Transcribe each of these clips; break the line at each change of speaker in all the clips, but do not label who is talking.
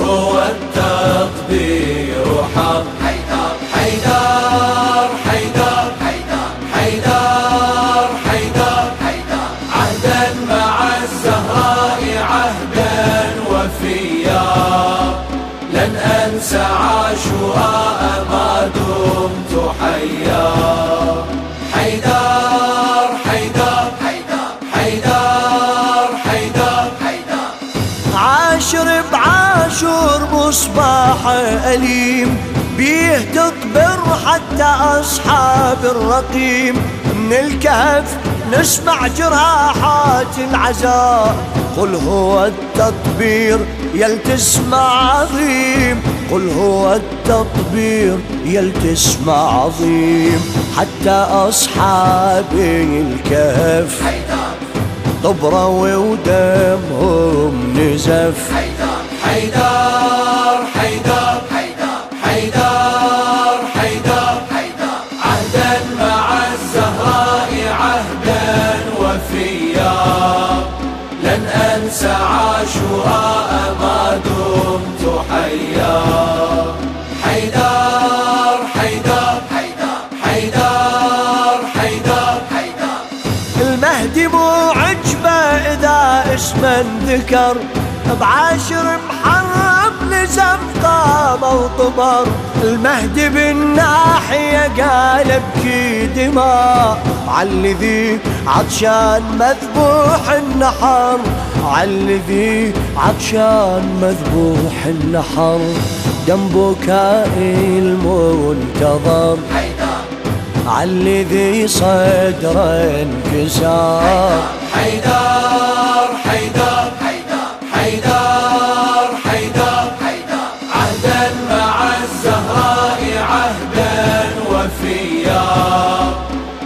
هو التقدير حق حيدر حيدر حيدر حيدر حيدر عهدا مع الزهراء عهدا وفيا لن أنسى عاشوراء ما دمت حيا حيدر حيدر حيدر حيدر
عاشر بعاشر مصباحه أليم بيه تطبر حتى أصحاب الرقيم من الكهف نسمع جراحات العزاء قل هو التطبير يل تسمع عظيم قل هو التطبير يل تسمع عظيم حتى أصحاب الكهف طبرة ودمهم نزف
حيدر حيدر حيدر حيدر عهدا مع الزهراء عهدا وفيا لن أنسى عاشوراء ما دمت حيا حيدر حيدر حيدر حيدر
المهدي مو عجبه إذا اسما ذكر بعاشر محرم لزم قام وطمر المهدي بالناحية قال ابكي دماء عالذي عطشان مذبوح النحر عالذي عطشان مذبوح النحر دم بكاء المنتظر عالذي صدره انكسار
حيدر حيدر حيدر حيدر عهدا مع الزهراء عهدا وفيا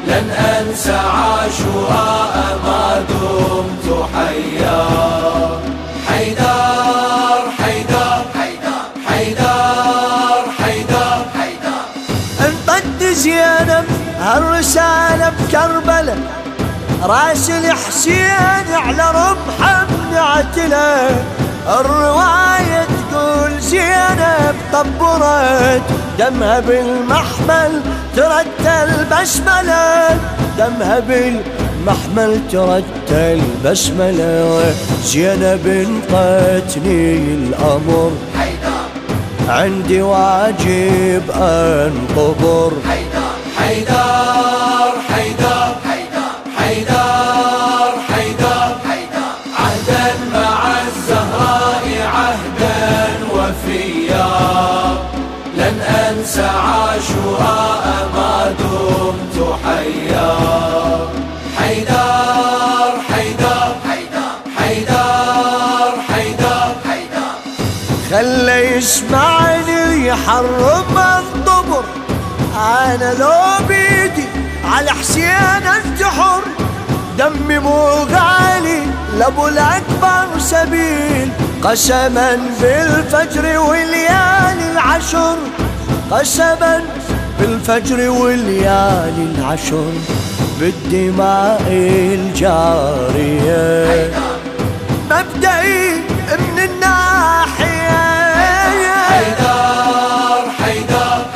لن أنسى عاشوراء ما دمت حيا حيدر حيدر حيدر حيدر
انطد زينب هالرسالة بكربلة راس الحسين على رمحه منعتله الرواية تقول زينب طبرت دمها بالمحمل ترتل بسملة دمها بالمحمل ترتل بسملة زينب انقتني الأمر عندي واجب انقبر
حيدر حيدر حيدر حيدر عهدا مع الزهراء عهدا وفيا لن أنسى عاشوراء ما دمت حيا حيدر حيدر حيدر حيدر
خلى يسمعني يحرم الضبر انا لو بيدي على حسين انتحر دمي مو غالي لابو الاكبر سبيل قسما بالفجر وليالي العشر قسما بالفجر وليالي العشر بالدماء الجاريه مبدئي من الناحية
حيدر حيدر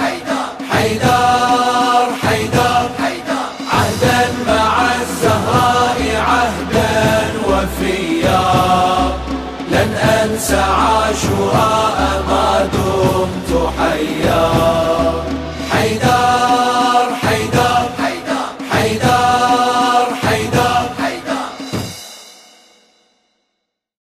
حيدر حيدر عهدا مع الزهراء عهدا وفيا لن أنسى عاشوراء